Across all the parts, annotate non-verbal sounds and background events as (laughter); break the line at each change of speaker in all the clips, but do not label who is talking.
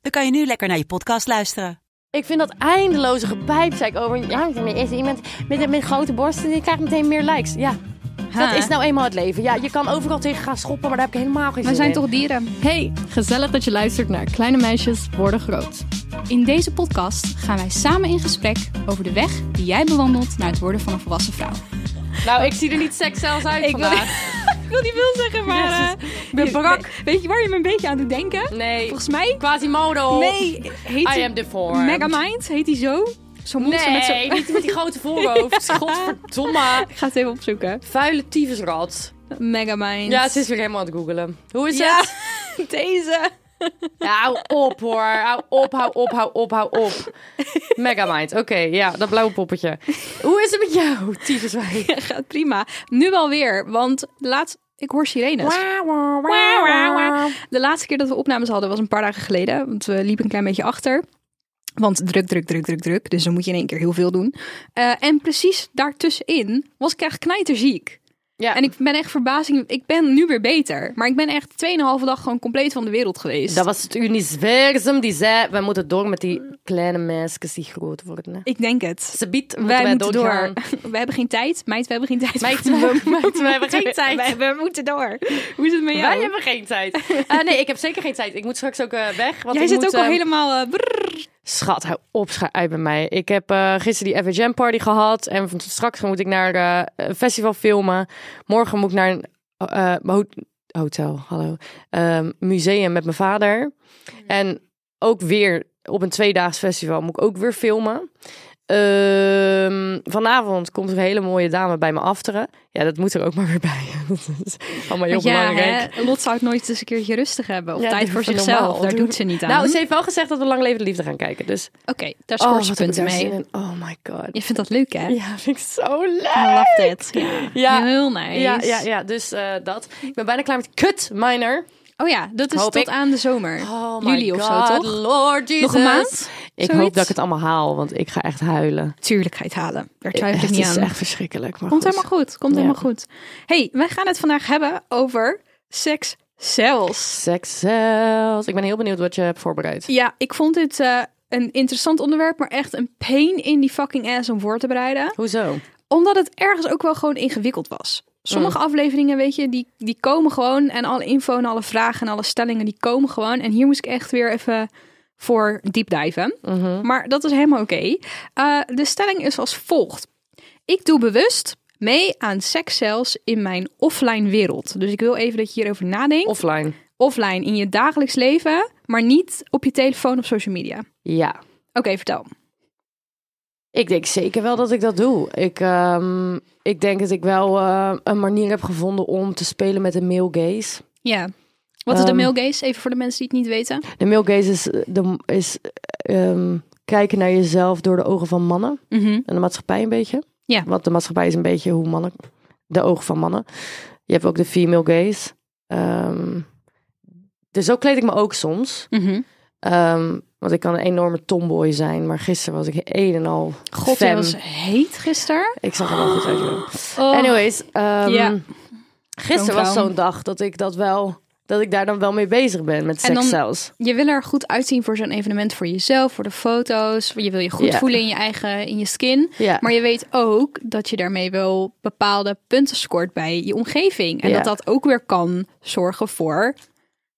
dan kan je nu lekker naar je podcast luisteren.
Ik vind dat eindeloze gepijp, zei ik over. Ja, maar is iemand met, met grote borsten die krijgt meteen meer likes. Ja, dat is nou eenmaal het leven. Ja, je kan overal tegen gaan schoppen, maar daar heb ik helemaal geen zin
We
in.
zijn toch dieren?
Hey, gezellig dat je luistert naar Kleine Meisjes Worden Groot.
In deze podcast gaan wij samen in gesprek over de weg die jij bewandelt naar het worden van een volwassen vrouw.
Nou, ik zie er niet seks zelfs uit
Ik wil- (laughs)
vandaag.
Ik wil niet veel zeggen,
Jezus, ik ben brak.
Weet je waar je me een beetje aan doet denken?
Nee,
Volgens mij...
Quasimodo.
Nee, heet
I
die-
am deformed.
Megamind, heet die zo? Zo'n monster
Nee,
met zo'n...
niet met die grote voorhoofd.
(laughs)
Godverdomme.
Ik ga het even opzoeken.
Vuile tyfusrat.
Megamind.
Ja, ze is weer helemaal aan het googelen. Hoe is
Ja,
het?
(laughs) deze.
Ja, hou op hoor. Hou op, hou op, hou op, hou op. Megamind. Oké, ja, dat blauwe poppetje. Hoe is het met jou, tyfuswijn?
Gaat prima. Nu alweer, want laatst... Ik hoor sirenes. De laatste keer dat we opnames hadden was een paar dagen geleden. Want we liepen een klein beetje achter. Want druk, druk, druk, druk, druk. Dus dan moet je in één keer heel veel doen. Eh, en precies daartussenin was ik echt knijterziek.
Ja,
En ik ben echt verbazing. Ik ben nu weer beter. Maar ik ben echt 2,5 dag gewoon compleet van de wereld geweest.
dat was het universum die zei, we moeten door met die kleine meisjes die groot worden. hè.
Ik denk het.
Ze biedt, moeten
Wij
wij,
moeten door. (laughs)
doorgaan.
We hebben geen tijd. Meid, (laughs) we hebben geen tijd.
Meid, we- (laughs) meid, we hebben geen tijd.
Wij- We, moeten door. Hoe is het met jou?
Wij hebben geen tijd. Eh, nee, ik heb zeker geen tijd. Ik moet straks ook eh, weg. Want
Jij
ik
zit
moet,
ook al
eh,
helemaal... eh, brrr.
Schat, hou op, scha uit bij mij. Ik heb eh, gisteren die FHM party gehad. En van straks moet ik naar eh, een festival filmen. Morgen moet ik naar een eh, ho- hotel, hallo. Ehm, museum met mijn vader.
Hmm.
En ook weer op een tweedaags festival moet ik ook weer filmen. Ehm, vanavond komt er een hele mooie dame bij me afteren. Ja, dat moet er ook (laughs) maar weer bij. dat is allemaal heel
ja,
belangrijk.
hè, Lot zou het nooit eens een keertje rustig hebben. Of
Ja,
tijd
doe
voor
even
zichzelf.
normaal.
Daar
Doe-
doet ze niet aan.
Nou, ze heeft wel gezegd dat we lang leven de liefde gaan kijken. Dus
Oké, daar scoort je
wat heb ik
punten
daar
mee.
zin in. Oh my god.
Je vindt dat leuk, hè?
(laughs) Ja, vind ik zo leuk.
I love that. Ja.
Ja.
Heel nice.
Ja, ja, ja, dus eh, dat. Ik ben bijna klaar met Kut Miner.
Oh ja, dat is
Hoop
tot
ik. Oh
aan de zomer. Juli of zo, toch?
Lord Jesus.
Nog een maand?
Ik
Zoiets?
hoop dat ik het allemaal haal, want ik ga echt huilen.
Tuurlijk ga je het halen. Daar twijfel ik
Het
niet
is
aan.
echt verschrikkelijk. Maar
Komt
goed.
helemaal goed. Komt
Ja.
helemaal goed. hey, wij gaan het vandaag hebben over seks zelfs.
Sex zelfs. Ik ben heel benieuwd wat je hebt voorbereid.
Ja, ik vond dit eh, een interessant onderwerp, maar echt een pain in die fucking ass om voor te bereiden.
Hoezo?
Omdat het ergens ook wel gewoon ingewikkeld was. Sommige afleveringen, weet je, die, die komen gewoon. En alle info en alle vragen en alle stellingen, die komen gewoon. En hier moest ik echt weer even voor deep diven. Maar dat is helemaal oké. Eh, de stelling is als volgt. Ik doe bewust mee aan sekscells in mijn offline wereld. Dus ik wil even dat je hierover nadenkt.
Offline.
offline, in je dagelijks leven, maar niet op je telefoon of social media. Oké,
Ja.
vertel.
Ik denk zeker wel dat ik dat doe. Ik, ehm, ik denk dat ik wel eh, een manier heb gevonden om te spelen met de male gaze.
Ja. Wat is de
Ehm,
male gaze? Even voor de mensen die het niet weten.
De male gaze is, eh, de, is eh, ehm, kijken naar jezelf door de ogen van mannen. En de maatschappij een beetje.
Mhm. Ja.
Want de maatschappij is een beetje hoe mannen... De ogen van mannen. Je hebt ook de female gaze. Ehm, dus zo kleed ik me ook soms.
Mhm.
Ehm, want ik kan een enorme tomboy zijn. Maar gisteren was ik een en al
God,
femme.
jij was heet gisteren.
Ik zag er wel goed uit. joh.
Oh.
Anyways, ehm,
Ja.
gisteren
Zo'n
was
vrouw.
zo'n dag dat ik dat wel... Dat ik daar dan wel mee bezig ben met
En
seks
dan-
zelfs.
Je wil er goed uitzien voor zo'n evenement, voor jezelf, voor de foto's. Je wil je goed
Ja.
voelen in je eigen, in je skin.
Ja.
Maar je weet ook dat je daarmee wel bepaalde punten scoort bij je omgeving. En
Ja.
dat dat ook weer kan zorgen voor,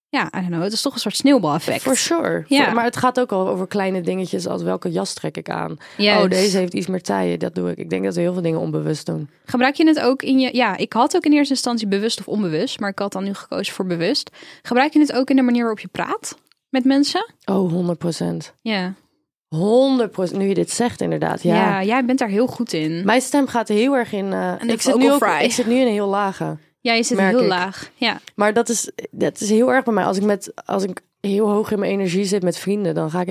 ja, I don't know, het is toch een soort sneeuwbaleffect.
For sure.
Ja.
For- maar het gaat ook al over kleine dingetjes als welke jas trek ik aan.
Juist.
Oh, deze heeft iets meer taille. Dat doe ik. Ik denk dat we heel veel dingen onbewust doen.
Gebruik je het ook in je. Ja, ik had ook in eerste instantie bewust of onbewust, maar ik had dan nu gekozen voor bewust. Gebruik je het ook in de manier waarop je praat met mensen?
Oh, 100 procent.
Ja.
100 Nu je dit zegt, inderdaad. Ja.
Ja, jij bent daar heel goed in.
Mijn stem gaat heel erg in. eh,
En de
ik, zit nu
vocal
ook,
fry.
ik zit nu in een heel lage.
Ja, je zit
merk
heel
ik.
laag. Ja.
Maar dat is, dat is heel erg bij mij. Als ik met. Als ik heel hoog in mijn energie zit met vrienden, dan ga ik...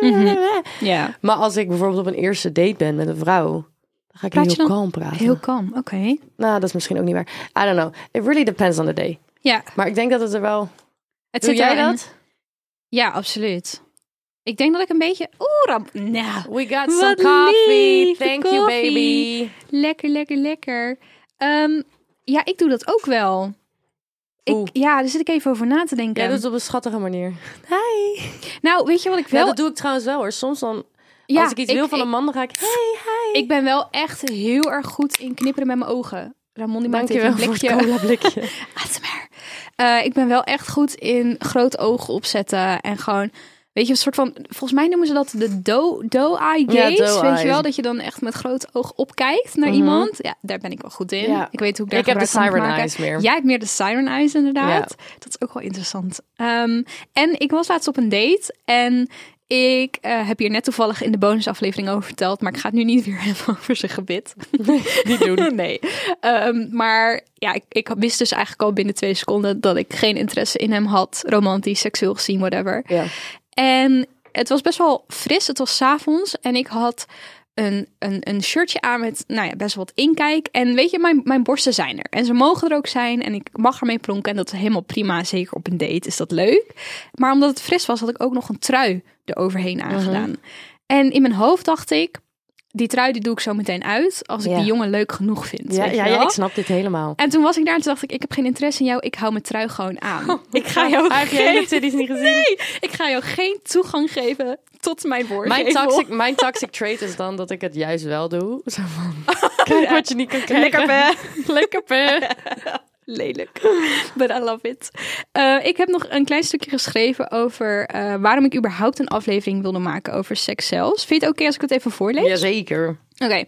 Mhm. Ja.
Maar als ik bijvoorbeeld op een eerste date ben met een vrouw, dan ga ik
Praat je
heel
dan
kalm praten.
Heel kalm, oké.
Nou, dat is misschien ook niet waar. I don't know. It really depends on the day.
Ja,
Maar ik denk dat het er wel...
het
Doe
zit er
jij
wel in.
dat?
Ja, absoluut. Ik denk dat ik een beetje... Oeh, ramp. Nou,
We got
some Wat coffee. lief, Thank you, koffie. baby. lekker, lekker, lekker. Ehm, ja, ik doe dat ook wel.
Oeh.
Ik, ja, daar zit ik even over na te denken.
Jij doet het op een schattige manier. Hi.
Nou, weet je wat ik
Wel,
wel...
dat doe ik trouwens wel hoor. Soms dan,
ja,
als ik iets wil van een man, dan ga ik... Hey, hi.
Ik ben wel echt heel erg goed in knipperen met mijn ogen. Ramon die maakt even
Dankjewel
een
voor
blikje.
het cola (laughs) blikje.
ASMR. Eh, ik ben wel echt goed in groot oog opzetten en gewoon, weet je, een soort van, volgens mij noemen ze dat de do- doe-eye
Ja,
gaze,
doe-eye.
weet je wel, dat je dan echt met groot oog opkijkt naar
Mhm.
iemand. Ja, daar ben ik wel goed in.
Ja.
Ik weet hoe ik daar
Ik heb de
gebruik van moet
siren
maken.
eyes meer.
Jij hebt meer de siren eyes inderdaad. Dat is ook wel interessant. Ehm, en ik was laatst op een date en ik eh, heb hier net toevallig in de bonusaflevering over verteld, maar ik ga het nu niet weer (laughs) hebben over zijn gebit.
Die doen.
(laughs) Nee. Ehm, maar ja, ik, ik wist dus eigenlijk al binnen twee seconden dat ik geen interesse in hem had. Romantisch, seksueel gezien, whatever.
Ja.
En het was best wel fris. Het was 's avonds en ik had een, een, een shirtje aan met nou ja, best wel wat inkijk. En weet je, mijn, mijn borsten zijn er. En ze mogen er ook zijn en ik mag ermee plonken. En dat is helemaal prima. Zeker op een date is dat leuk. Maar omdat het fris was, had ik ook nog een trui eroverheen
Mhm.
aangedaan. En in mijn hoofd dacht ik... Die trui die doe ik zo meteen uit als ik
Ja.
die jongen leuk genoeg vind.
Ja,
weet je
ja, ja,
wel?
ik snap dit helemaal.
En toen was ik daar en toen dacht ik, ik heb geen interesse in jou. Ik hou mijn trui gewoon aan.
(laughs)
ik ga jou
Hij heeft je hele
geen...
titties niet gezien.
Nee, ik ga jou geen toegang geven tot mijn woord.
Mijn toxic, mijn toxic trait is dan dat ik het juist wel doe. Zo van, (laughs) kijk wat je niet kan krijgen.
(laughs) Lekker hè?
(laughs) Lekker pe.
Lelijk. (laughs) But I love it. Eh, ik heb nog een klein stukje geschreven over eh, waarom ik überhaupt een aflevering wilde maken over seks zelfs. Vind je het oké als ik het even voorlees?
Jazeker.
Oké.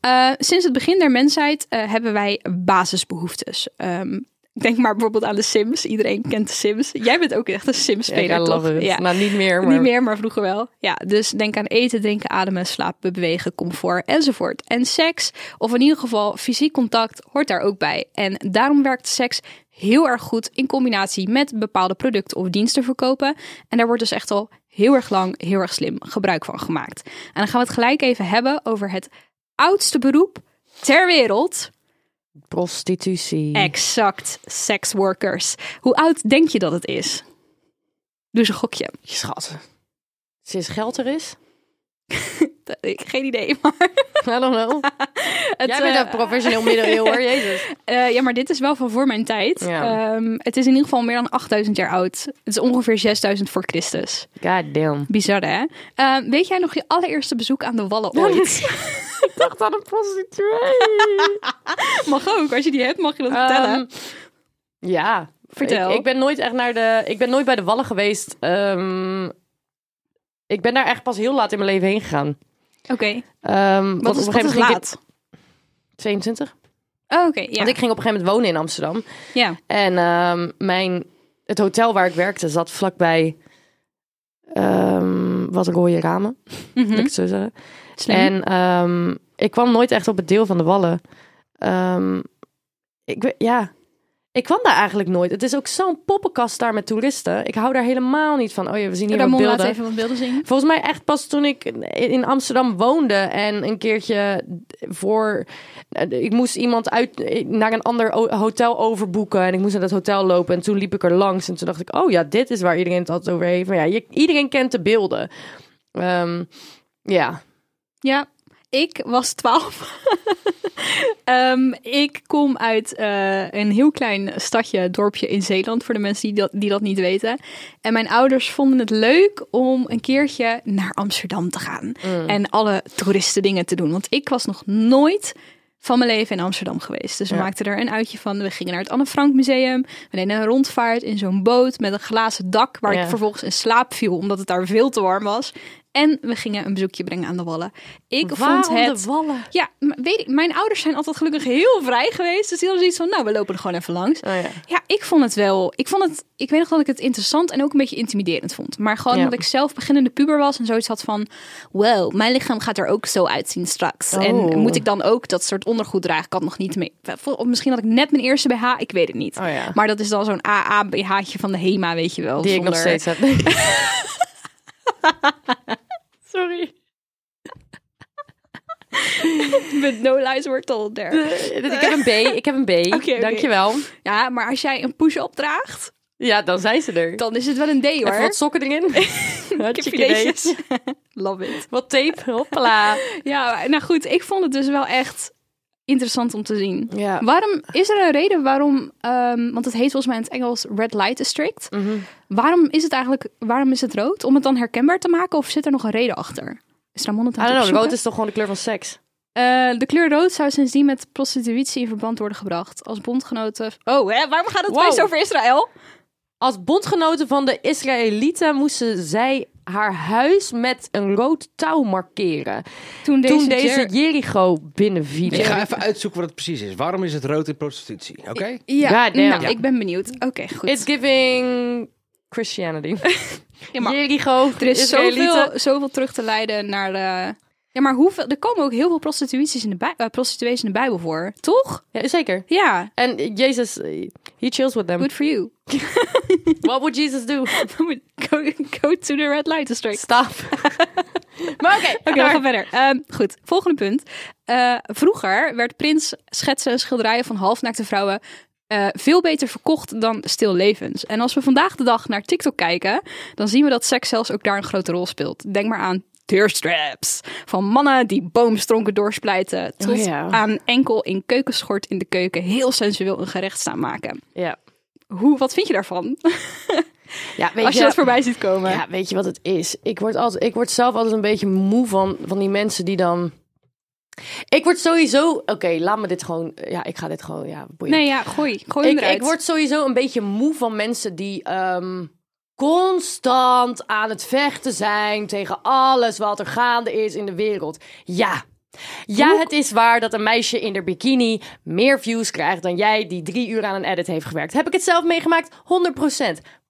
Eh, sinds het begin der mensheid eh, hebben wij basisbehoeftes. Ehm, denk maar bijvoorbeeld aan de Sims. Iedereen kent de Sims. Jij bent ook echt een Sims-speler,
Ja, I love
toch?
it. Nou, niet meer, maar...
Niet meer, maar vroeger wel. Ja, dus denk aan eten, drinken, ademen, slapen, bewegen, comfort enzovoort. En seks, of in ieder geval fysiek contact, hoort daar ook bij. En daarom werkt seks heel erg goed in combinatie met bepaalde producten of diensten verkopen. En daar wordt dus echt al heel erg lang, heel erg slim gebruik van gemaakt. En dan gaan we het gelijk even hebben over het oudste beroep ter wereld.
Prostitutie.
Exact, seksworkers. Hoe oud denk je dat het is? Doe eens een gokje.
Schat. Sinds geld er is? (laughs)
Ik- Geen idee, maar...
I don't know.
(laughs) Het,
Jij bent
eh,
een professioneel middeleeuw
(laughs)
hoor, jezus.
Eh, ja, maar dit is wel van voor mijn tijd.
Ja.
Ehm, het is in ieder geval meer dan 8000 jaar oud. Het is ongeveer 6000 voor Christus.
God damn.
Bizar, hè? Ehm, weet jij nog je allereerste bezoek aan de Wallen ooit?
Ik dacht aan een prostituee.
(laughs) mag ook, als je die hebt mag je dat vertellen.
Ehm, ja.
Vertel.
Ik, ik ben nooit echt naar de... Ik ben nooit bij de Wallen geweest. Ehm, ik ben daar echt pas heel laat in mijn leven heen gegaan.
Oké,
Ehm, want
wat
op
is,
een
wat
gegeven
is
moment ging ik-
laat?
22.
Oh, Oké, ja.
Want ik ging op een gegeven moment wonen in Amsterdam.
ja.
En ehm, mijn, het hotel waar ik werkte zat vlakbij ehm, wat rode ramen.
Mhm.
Laat ik het zo zeggen.
Slim.
En ehm, ik kwam nooit echt op het deel van de wallen. Ehm, ik, we- ja, ik kwam daar eigenlijk nooit. Het is ook zo'n poppenkast daar met toeristen. Ik hou daar helemaal niet van. Oh ja, we zien hier wat
Ramon laat
beelden.
even wat beelden zien.
Volgens mij echt pas toen ik in Amsterdam woonde en een keertje voor. eh, Ik moest iemand uit naar een ander o- hotel overboeken en ik moest naar dat hotel lopen. En toen liep ik er langs en toen dacht ik: Oh ja, dit is waar iedereen het altijd over heeft. Maar ja, je- iedereen kent de beelden. Ehm, ja,
Ja, ik was 12. Ehm, ik kom uit eh, een heel klein stadje, dorpje in Zeeland, voor de mensen die dat, die dat niet weten. En mijn ouders vonden het leuk om een keertje naar Amsterdam te gaan
Mm.
en alle toeristen dingen te doen. Want ik was nog nooit van mijn leven in Amsterdam geweest. Dus we
Ja.
maakten er een uitje van. We gingen naar het Anne Frank Museum. We deden een rondvaart in zo'n boot met een glazen dak... waar
Ja.
ik vervolgens in slaap viel omdat het daar veel te warm was. En we gingen een bezoekje brengen aan de wallen. Ik vond
Waarom
het...
de wallen?
Ja, m- weet ik, mijn ouders zijn altijd gelukkig heel vrij geweest. Dus die hadden zoiets van, nou, we lopen er gewoon even langs.
Oh ja.
Ja, ik vond het wel. Ik vond het. Ik weet nog dat ik het interessant en ook een beetje intimiderend vond. Maar gewoon
Ja.
dat ik zelf beginnende puber was en zoiets had van: wow, mijn lichaam gaat er ook zo uitzien straks.
Oh.
En moet ik dan ook dat soort ondergoed dragen? Ik had nog niet mee. Of misschien had ik net mijn eerste BH, ik weet het niet.
Oh ja.
Maar dat is dan zo'n AA-BH'tje van de HEMA, weet je wel.
Die ik
zonder...
nog
(laughs)
steeds heb. (laughs) Sorry.
With no lies were told there.
Eh, Ik heb een B. Ik heb een (laughs) B.
oké.
Dankjewel.
Ja, maar als jij een push-up draagt,
Ja, dan zijn ze er.
dan is het wel een D
Even
hoor.
wat sokken erin. (laughs) Hartstikke
Kipfiletjes.
idee.
(laughs) Love it.
Wat tape. Hoppala.
Ja, nou goed, ik vond het dus wel echt interessant om te zien.
Ja.
Waarom is er een reden waarom, ehm, want het heet volgens mij in het Engels Red Light District.
Mhm.
Waarom is het eigenlijk, waarom is het rood? Om het dan herkenbaar te maken of zit er nog een reden achter? Is Ramon het
I
aan het
don't know. Rood
opzoeken?
is toch gewoon de kleur van seks?
Eh, de kleur rood zou sindsdien met prostitutie in verband worden gebracht. Als bondgenoten... Oh, hè? waarom gaat het
Wow.
opeens over Israël?
Als bondgenoten van de Israëlieten moesten zij haar huis met een rood touw markeren.
Toen deze...
toen deze
Jer-
Jericho binnenviel.
Ik ga even uitzoeken wat het precies is. Waarom is het rood in prostitutie? Oké?
ja,
God damn.
nou,
Ja.
ik ben benieuwd. Oké, goed.
It's giving Christianity.
(laughs) Ja, maar-
Jericho,
Er is
Israëlieten.
zoveel, zoveel terug te leiden naar de... Ja, maar hoeveel, er komen ook heel veel prostituties in de, bij, eh, prostituees in de Bijbel voor, toch?
Ja, zeker.
Ja,
En eh, Jezus, eh, he chills with them.
good for you.
What would Jesus do?
(laughs) go, go to the red light district.
Stop.
(laughs)
maar oké.
Oké, we gaan verder. Ehm, goed, volgende punt. Eh, vroeger werd prins schetsen en schilderijen van halfnaakte vrouwen eh, veel beter verkocht dan stillevens. En als we vandaag de dag naar TikTok kijken, dan zien we dat seks zelfs ook daar een grote rol speelt. Denk maar aan deurstraps van mannen die boomstronken doorsplijten, tot
Oh ja.
aan enkel in keukenschort in de keuken heel sensueel een gerecht staan maken.
Ja.
Hoe, wat vind je daarvan?
Ja, weet
als je dat voorbij ziet komen.
Ja, weet je wat het is? Ik word, altijd, ik word zelf altijd een beetje moe van, van die mensen die dan... Ik word sowieso... Oké, laat me dit gewoon... Ja, ik ga dit gewoon... Ja, boeien.
Nee, ja, gooi, gooi (laughs) hem
ik,
eruit.
ik word sowieso een beetje moe van mensen die ehm, constant aan het vechten zijn tegen alles wat er gaande is in de wereld. Ja. Ja, het is waar dat een meisje in de bikini meer views krijgt dan jij die drie uur aan een edit heeft gewerkt. Heb ik het zelf meegemaakt? 100%.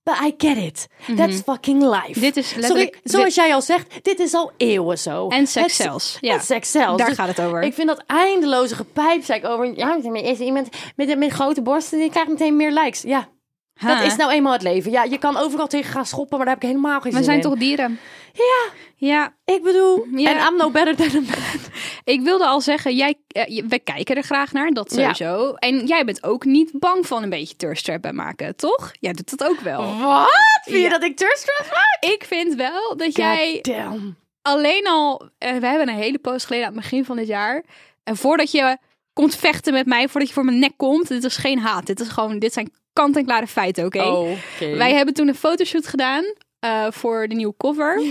But I get it. That's fucking life.
Mhm. Dit is
Sorry,
letterlijk-
zoals jij al zegt, dit is al eeuwen zo.
En seks
Het-
zelfs, ja.
En seks zelfs. Dus
Daar gaat het over.
Ik vind dat eindeloze gepijpzeik over. Ja, maar is iemand met, met grote borsten die krijgt meteen meer likes. Ja. Dat
Ha.
is nou eenmaal het leven. Ja, je kan overal tegen gaan schoppen, maar daar heb ik helemaal geen
We
zin
zijn
in.
toch dieren?
Ja,
Ja,
ik bedoel...
Ja.
En I'm no better than a man.
Ik wilde al zeggen, jij, eh, je- we kijken er graag naar,
Ja.
dat sowieso. En jij bent ook niet bang van een beetje thirstrap bij maken, toch? Jij doet dat ook
Oh.
wel.
Wat? Vind je
Ja.
dat ik thirstrap maak?
Ik vind wel dat jij
Damn.
alleen al... eh, we hebben een hele post geleden aan het begin van dit jaar. En voordat je komt vechten met mij, voordat je voor mijn nek komt... Dit is geen haat, dit, is gewoon, dit zijn kant-en-klare feiten, oké?
Oh. Ehm,
Wij hebben toen een fotoshoot gedaan eh, voor de nieuwe cover.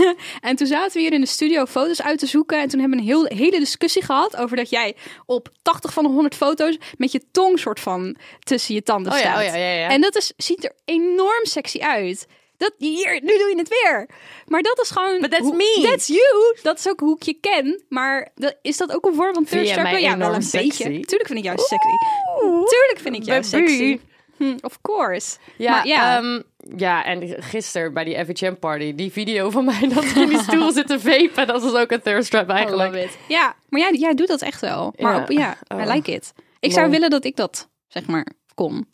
(laughs) en toen zaten we hier in de studio foto's uit te zoeken. En toen hebben we een heel, hele discussie gehad over dat jij op 80 van de 100 foto's met je tong soort van tussen je tanden
Oh ja,
staat.
oh ja, ja, ja.
En dat is, ziet er enorm sexy uit. Dat, hier, nu doe je het weer. Maar dat is gewoon...
But that's
hoe-
me.
That's you. Dat is ook hoe ik je ken. Maar dat, is dat ook een vorm van
jij
thirst
mij
Ja, wel
enorm
een
sexy?
beetje. Tuurlijk vind ik jou sexy. Tuurlijk vind ik jou
Baby.
sexy. Hm, of course.
Ja,
Maar ja.
ehm, ja, en gisteren bij die FHM party, die video van mij (laughs) dat ik in die stoel zit te vapen, dat is ook een thirst trap eigenlijk.
Ja, maar jij, jij doet dat echt wel. Maar
Ja.
op, ja, I
Oh.
like it. Ik zou
Lol.
willen dat ik dat, zeg maar, kon.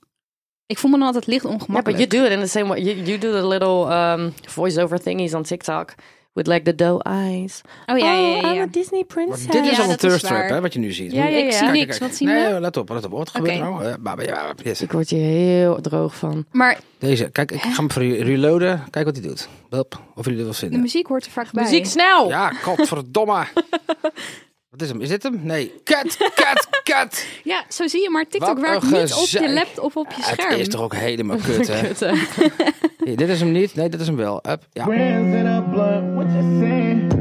Ik voel me dan altijd licht
Yeah, but
ongemakkelijk.
you do it in the same way. You, you do the little um, voiceover thingies on TikTok with like the doe eyes.
Oh ja, ja, ja.
I'm
ja.
a Disney princess.
Maar dit is
ja,
al een
dat is
thirst trap,
waar.
hè, wat je nu ziet.
Ja, ja, ja.
Ik zie
Kijk,
niks. Wat zien
nee,
we?
let op, let op. Wat
Oké.
gebeurt er nou? Eh, bah, bah, ja, yes.
Ik word hier heel droog van.
Maar
Deze, kijk, ik ga hem voor jullie reloaden. Kijk wat hij doet. Hup, of jullie dit wel
de
vinden.
muziek hoort er vaak bij.
Muziek snel!
Ja, godverdomme. (laughs) wat is hem? Is dit hem? Nee. Cut, cut, (laughs) cut.
Ja, zo zie je. Maar
Wat
TikTok
een
werkt niet op
gezeik.
je laptop of op je
Ja,
scherm.
Het is toch ook helemaal (laughs) kut, hè?
Kut, hè.
Hier, dit is hem niet. Nee, dit is hem wel. Up, ja.
Friends in a blunt, what you saying?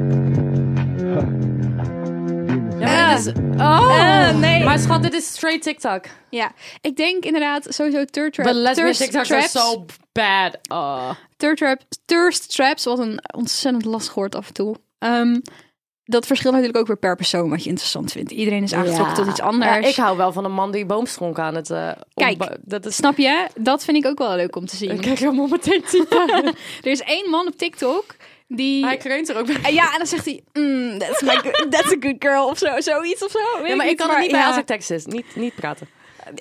Ja, maar is... Oh!
Eh, nee.
Maar schat, dit is straight TikTok.
Ja, ik denk inderdaad sowieso thirst trap.
Lesbian
thirst
TikToks zijn
traps,
zo bad. Oh.
thirst trap, thirst traps, wat een ontzettend lastig woord af en toe. Ehm, dat verschilt natuurlijk ook weer per persoon wat je interessant vindt. Iedereen is aangetrokken tot iets anders.
Ja, ik hou wel van een man die boomstronk aan het... eh,
Kijk,
omba- dat is...
Snap je? Dat vind ik ook wel leuk om te zien.
Ik kijk helemaal meteen (laughs) typen.
Er is één man op TikTok die...
Hij kreunt er ook bij.
Eh, Ja, en dan zegt hij, mm, that's, my
(laughs)
good, that's a good girl of zo, zoiets of zo. Weet
Ja, maar ik kan er niet bij
ja,
als ik tekst is. Niet, niet praten.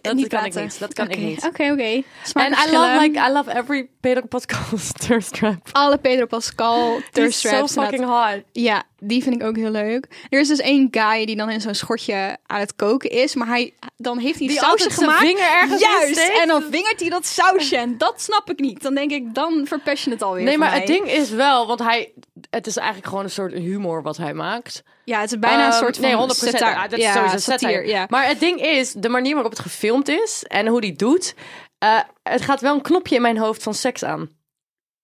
Dat
niet
kan
praten.
ik niet. Dat kan
Oké,
ik niet.
Oké, oké.
En I
Smaakverschillen.
love, like, I love every Pedro podcast (laughs) thirst trap.
alle Pedro
(laughs)
Pascal,
Die
thirst
is zo
traps.
fucking
inderdaad.
hot.
Ja, die vind ik ook heel leuk. Er is dus één guy die dan in zo'n schortje aan het koken is, maar hij, dan heeft hij
Die
sausje
altijd zijn
gemaakt.
vinger ergens
Juist,
insteekt.
en dan vingert hij dat sausje en dat snap ik niet. Dan denk ik, dan verpest je het alweer
Nee,
voor
maar
mij.
het ding is wel, want hij, het is eigenlijk gewoon een soort humor wat hij maakt.
Ja, het is bijna een
Ehm,
soort van
Nee, 100
satire.
Ja, dat is
Ja,
sowieso satire.
ja.
Maar het ding is, de manier waarop het gefilmd is en hoe die het doet, eh, het gaat wel een knopje in mijn hoofd van seks aan.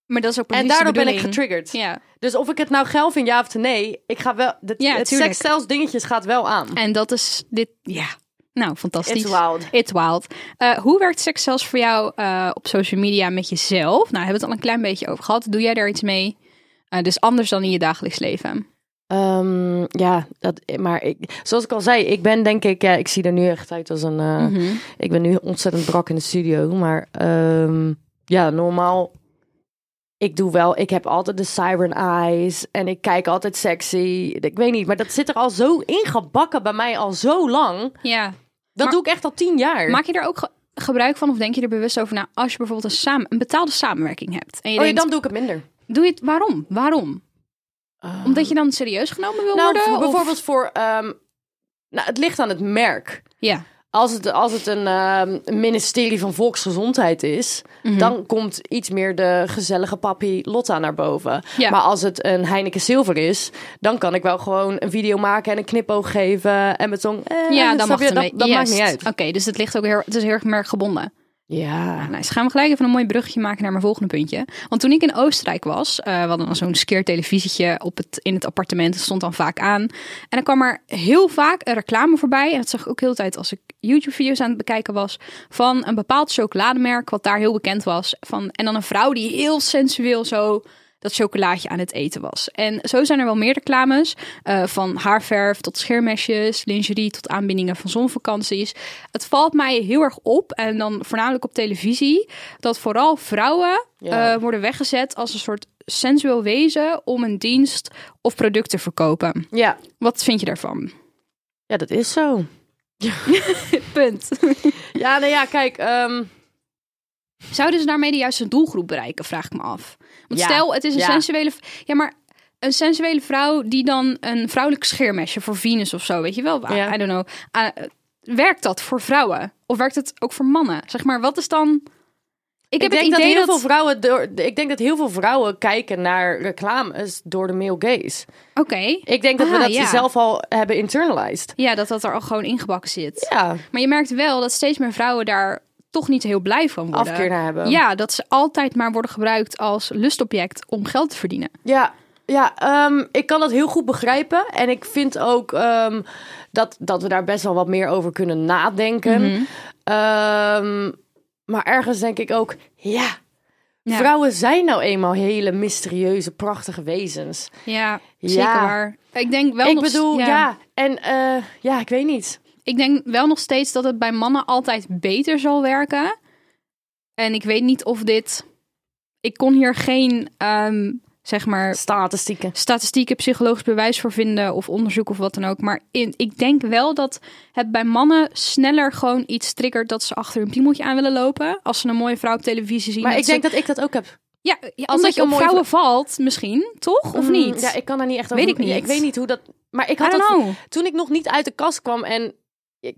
Maar dat is ook precies
en
de
daardoor ben ik
bedoeling.
getriggerd.
Ja,
Dus of ik het nou geil vind, ja of nee, ik ga wel. De,
Ja,
het
tuurlijk.
seksstijls dingetjes gaat wel aan.
en dat is dit, ja. Nou, fantastisch.
It's wild.
It's wild. Eh, hoe werkt seks zelfs voor jou eh, op social media met jezelf? Nou, we hebben het al een klein beetje over gehad. Doe jij daar iets mee? Eh, dus anders dan in je dagelijks leven.
Ehm, ja, dat, maar ik, zoals ik al zei, ik ben denk ik, ja, ik zie er nu echt uit als een. eh,
Mhm.
Ik ben nu ontzettend brak in de studio, maar ehm, ja, normaal. Ik doe wel, ik heb altijd de siren eyes en ik kijk altijd sexy. Ik weet niet, maar dat zit er al zo ingebakken bij mij al zo lang.
Ja.
Dat
Maar-
doe ik echt al tien jaar.
Maak je daar ook ge- gebruik van of denk je er bewust over na als je bijvoorbeeld een, samen, een betaalde samenwerking hebt? En je
oh ja,
denkt,
dan doe ik het minder.
doe je het waarom? Waarom? Omdat je dan serieus genomen wil
Nou,
worden?
voor-
of-
bijvoorbeeld voor, ehm, nou, het ligt aan het merk.
Ja.
Als het, als het een ehm, ministerie van Volksgezondheid is,
Mhm.
dan komt iets meer de gezellige papi Lotta naar boven.
Ja.
Maar als het een Heineken Zilver is, dan kan ik wel gewoon een video maken en een knipoog geven en mijn tong. eh,
Ja, dan
snap
mag
je?
het
dat,
een
dat
beetje-
maakt niet
Yes.
uit.
Oké, dus het ligt ook heel, het is heel erg merkgebonden.
Ja.
Nou, dus gaan we gelijk even een mooi bruggetje maken naar mijn volgende puntje. Want toen ik in Oostenrijk was, eh we hadden dan zo'n skeertelevisietje op het, in het appartement. Dat stond dan vaak aan. En dan kwam er heel vaak een reclame voorbij. En dat zag ik ook heel de tijd als ik YouTube-video's aan het bekijken was. Van een bepaald chocolademerk, wat daar heel bekend was. Van, en dan een vrouw die heel sensueel zo dat chocolaatje aan het eten was. En zo zijn er wel meer reclames. eh, van haarverf tot scheermesjes, lingerie tot aanbindingen van zonvakanties. Het valt mij heel erg op, en dan voornamelijk op televisie, dat vooral vrouwen
Ja.
eh, worden weggezet als een soort sensueel wezen om een dienst of product te verkopen.
Ja.
Wat vind je daarvan?
ja, dat is zo.
Punt.
Ja, nou ja, kijk. ehm,
Zouden ze daarmee de juiste doelgroep bereiken, vraag ik me af. Want
Ja,
stel, het is een
ja.
sensuele... v- Ja, maar een sensuele vrouw die dan een vrouwelijk scheermesje voor Venus of zo, weet je wel? I-
Ja.
I don't know. Ah, werkt dat voor vrouwen? Of werkt het ook voor mannen? Zeg maar, wat is dan... Ik
ik,
heb
denk
het
dat
idee
heel
dat...
veel vrouwen door, ik denk dat heel veel vrouwen kijken naar reclames door de male gaze.
Oké.
Ik denk dat we
Ah,
dat
ja.
zelf al hebben internalized.
Ja, dat dat er al gewoon ingebakken zit.
Ja,
Maar je merkt wel dat steeds meer vrouwen daar toch niet heel blij van worden.
afkeer naar hebben.
Ja, dat ze altijd maar worden gebruikt als lustobject om geld te verdienen.
Ja, ja ehm, ik kan dat heel goed begrijpen. En ik vind ook ehm, dat, dat we daar best wel wat meer over kunnen nadenken.
Mhm.
Ehm, maar ergens denk ik ook, ja,
Ja.
vrouwen zijn nou eenmaal hele mysterieuze, prachtige wezens.
Ja,
Ja.
zeker waar. Ik denk wel
ik
nog s-
bedoel, ja. en eh, ja, ik weet niet.
Ik denk wel nog steeds dat het bij mannen altijd beter zal werken. En ik weet niet of dit. Ik kon hier geen, ehm, zeg maar,
Statistieken.
statistieken, psychologisch bewijs voor vinden of onderzoek of wat dan ook. Maar in, ik denk wel dat het bij mannen sneller gewoon iets triggert dat ze achter hun piemeltje aan willen lopen. Als ze een mooie vrouw op televisie zien.
Maar ik
ze-
denk dat ik dat ook heb.
Ja, ja,
als
omdat
ik
je
een
op
mooie
vrouwen valt, misschien, toch? Of
Mm,
niet?
Ja, ik kan daar niet echt
Weet
over.
ik niet.
ja, ik weet niet hoe dat. Maar ik
I
had
don't
dat
know.
toen ik nog niet uit de kast kwam en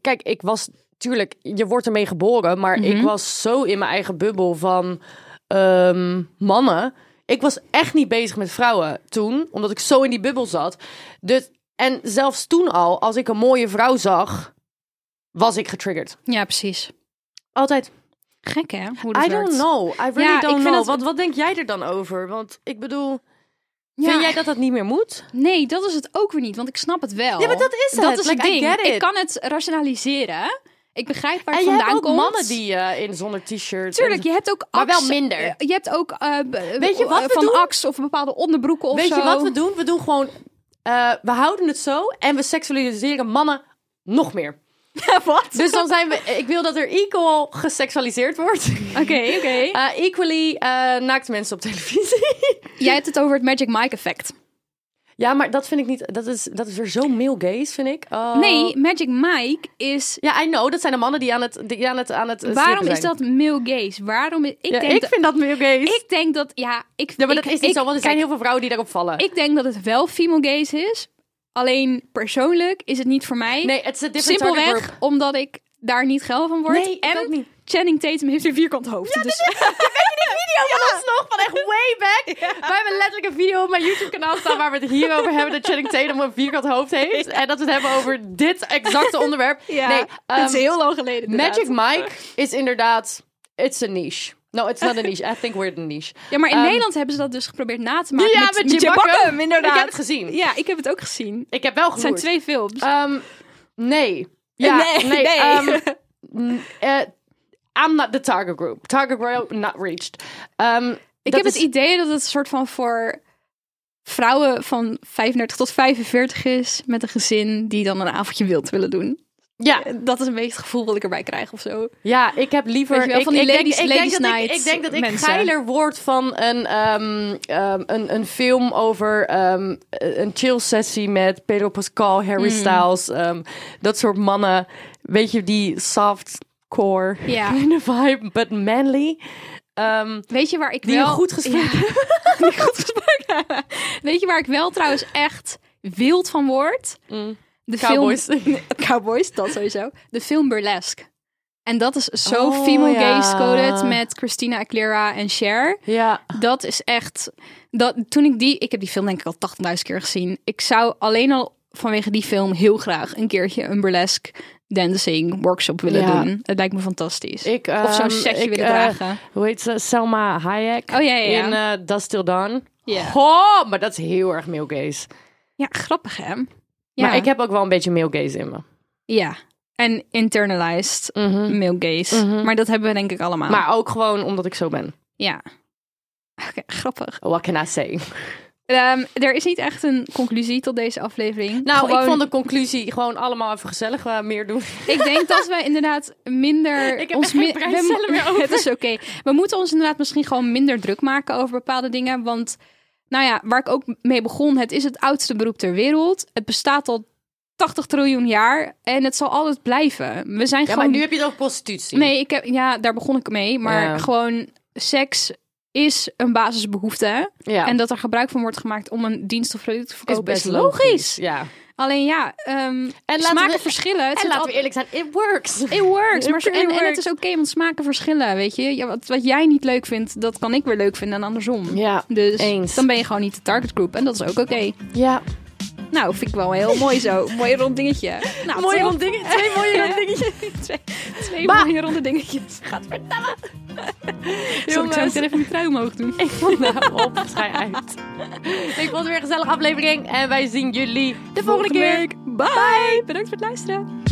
kijk, ik was tuurlijk, je wordt ermee geboren, maar ik was zo in mijn eigen bubbel van ehm, mannen. Ik was echt niet bezig met vrouwen toen, omdat ik zo in die bubbel zat. Dus en zelfs toen al, als ik een mooie vrouw zag, was ik getriggerd.
Ja, precies.
Altijd.
Gek hè? Hoe dat
I
werkt.
don't know. I really
Ja, ik
don't
vind
know.
dat-
Wat, wat denk jij er dan over? Want ik bedoel, Vind jij dat dat niet meer moet?
Nee, dat is het ook weer niet, want ik snap het wel.
Ja, maar dat is
Dat
het.
is
Like, I
het ding.
get it.
Ik kan het rationaliseren. Ik begrijp waar
en je
het vandaan
hebt ook
komt.
mannen die eh, in zonder t-shirt.
Tuurlijk, je hebt ook
Maar wel
acts-
minder.
eh, Je hebt ook eh, b-
Weet je wat
eh,
we
van
doen?
Axe of bepaalde onderbroeken of
Weet
zo.
je wat we doen? We doen gewoon. eh, we houden het zo en we seksualiseren mannen nog
(laughs)
meer.
wat?
Dus dan zijn we. Ik wil dat er equal geseksualiseerd wordt.
Oké, (laughs) oké.
Eh, equally eh naakt mensen op televisie. (laughs)
Jij hebt het over het Magic Mike effect.
ja, maar dat vind ik niet. Dat is, dat is weer zo male gaze, vind ik. Oh.
Nee, Magic Mike is...
Ja, I know. Dat zijn de mannen die aan het. Die aan het, aan het eh,
Waarom
strippen
is
zijn.
dat male gaze? Waarom is... Ik,
Ja,
denk
ik
dat,
vind dat male gaze.
ik denk dat... Ja, ik,
ja, maar
ik-
dat is niet
ik-
zo, want er zijn
kijk,
heel veel vrouwen die daarop vallen.
Ik denk dat het wel female gaze is. Alleen persoonlijk is het niet voor mij.
nee, het is een different target group.
Simpelweg omdat ik daar niet geil van word.
Nee, ik
en
ook niet.
Channing Tatum heeft een vierkant hoofd. dus
video van ons nog van echt way back. Wij hebben letterlijk een video op mijn YouTube-kanaal staan waar we het hier over hebben dat Channing Tatum een vierkant hoofd heeft en dat we het hebben over dit exacte onderwerp. nee,
dat is
ehm,
heel lang geleden. inderdaad.
Magic Mike is inderdaad it's a niche. No, it's not a niche. I think we're the niche.
Ja, maar in
Ehm,
Nederland hebben ze dat dus geprobeerd na te maken.
Ja,
met,
met Jim
Jim
Buckham.
Buckham, inderdaad.
Ik heb het gezien.
Ja, ik heb het ook gezien.
Ik heb wel
Het
gehoord.
zijn twee films.
Ehm, nee. Ja,
Nee,
nee.
nee. (laughs)
ehm, n- eh, I'm not the target group. Target group not reached. Ehm,
ik
dat
heb
is-
het idee dat het een soort van voor vrouwen van 35 tot 45 is. Met een gezin die dan een avondje wild willen doen.
Ja,
Dat is een beetje het gevoel dat ik erbij krijg of zo.
Ja, ik heb liever...
Weet je wel,
ik,
van die
ik denk-
ladies-
ik denk
ladies
dat ik-
night
Ik, denk dat ik
mensen.
geiler word van een, ehm, ehm, een, een film over ehm, een chill sessie met Pedro Pascal, Harry
Hmm.
Styles. ehm, dat soort mannen. Weet je, die softcore
Ja.
kind of vibe, but manly. Ehm,
Weet je waar ik
die
wel...
een goed gesprek
Ja. (laughs) Die een goed gesprek hebben. Weet je waar ik wel trouwens echt wild van word? De
Mm. Cowboys.
Film... (laughs) Cowboys, dat sowieso. De film Burlesque. En dat is zo
Oh,
female
ja.
gaze coded met Christina Aguilera en Cher.
ja.
Dat is echt... Dat, toen ik die... Ik heb die film denk ik al 80.000 keer gezien. Ik zou alleen al vanwege die film heel graag een keertje een burlesque dancing workshop willen
Ja.
doen. Het lijkt me fantastisch.
Ik,
of zo'n
ehm,
setje
ik,
willen
eh,
dragen.
Hoe heet ze? Selma Hayek.
Oh, ja, ja, ja.
In eh Das Till Dawn.
Ja.
Goh, maar dat is heel erg male gaze.
Ja, grappig hè? Ja.
Maar ik heb ook wel een beetje male gaze in me.
Ja. En internalized male gaze. Maar dat hebben we denk ik allemaal.
Mhm. Maar ook gewoon omdat ik zo ben.
ja. Oké, grappig.
What can I say?
Ehm, er is niet echt een conclusie tot deze aflevering.
Nou,
Gewoon-
ik vond de conclusie gewoon allemaal even gezellig eh, meer doen.
(laughs) ik denk dat we inderdaad minder...
(laughs) Ik heb
ons
echt geen prijscellen
we-
meer over.
(laughs) Het is oké. We moeten ons inderdaad misschien gewoon minder druk maken over bepaalde dingen. Want, nou ja, waar ik ook mee begon. Het is het oudste beroep ter wereld. Het bestaat al 80 triljoen jaar. En het zal altijd blijven. We zijn gewoon
heb je het over prostitutie.
Nee, ik heb, ja, daar begon ik mee. Maar
Ja.
gewoon seks is een basisbehoefte.
Ja.
En dat er gebruik van wordt gemaakt om een dienst of product te verkopen is, logisch.
Ja.
Alleen ja, ehm en
laten
smaken
we-
verschillen. Het
En
zit
laten
al-
we eerlijk zijn, it works.
It works.
It
Maar, zo- en,
really
en het
works.
is oké, want smaken verschillen, weet je. Ja, wat, wat jij niet leuk vindt, dat kan ik weer leuk vinden en andersom.
Ja,
Dus
eens.
dan ben je gewoon niet de target group. En dat is ook oké.
Ja.
Nou, vind ik wel
(laughs)
heel mooi zo. Mooi rond dingetje. Nou,
Mooi
twee-
rond dingen. Twee mooie
Ja.
rond (laughs) dingetjes.
(laughs) twee, twee
Maar-
mooie ronde dingetjes. Gaat Zal ik zo
Jongens.
meteen even mijn trui omhoog doen?
Ik vond nou op, schij uit. Ik vond het weer een gezellige aflevering. En wij zien jullie de volgende keer.
Bye. Bye. Bedankt voor het luisteren.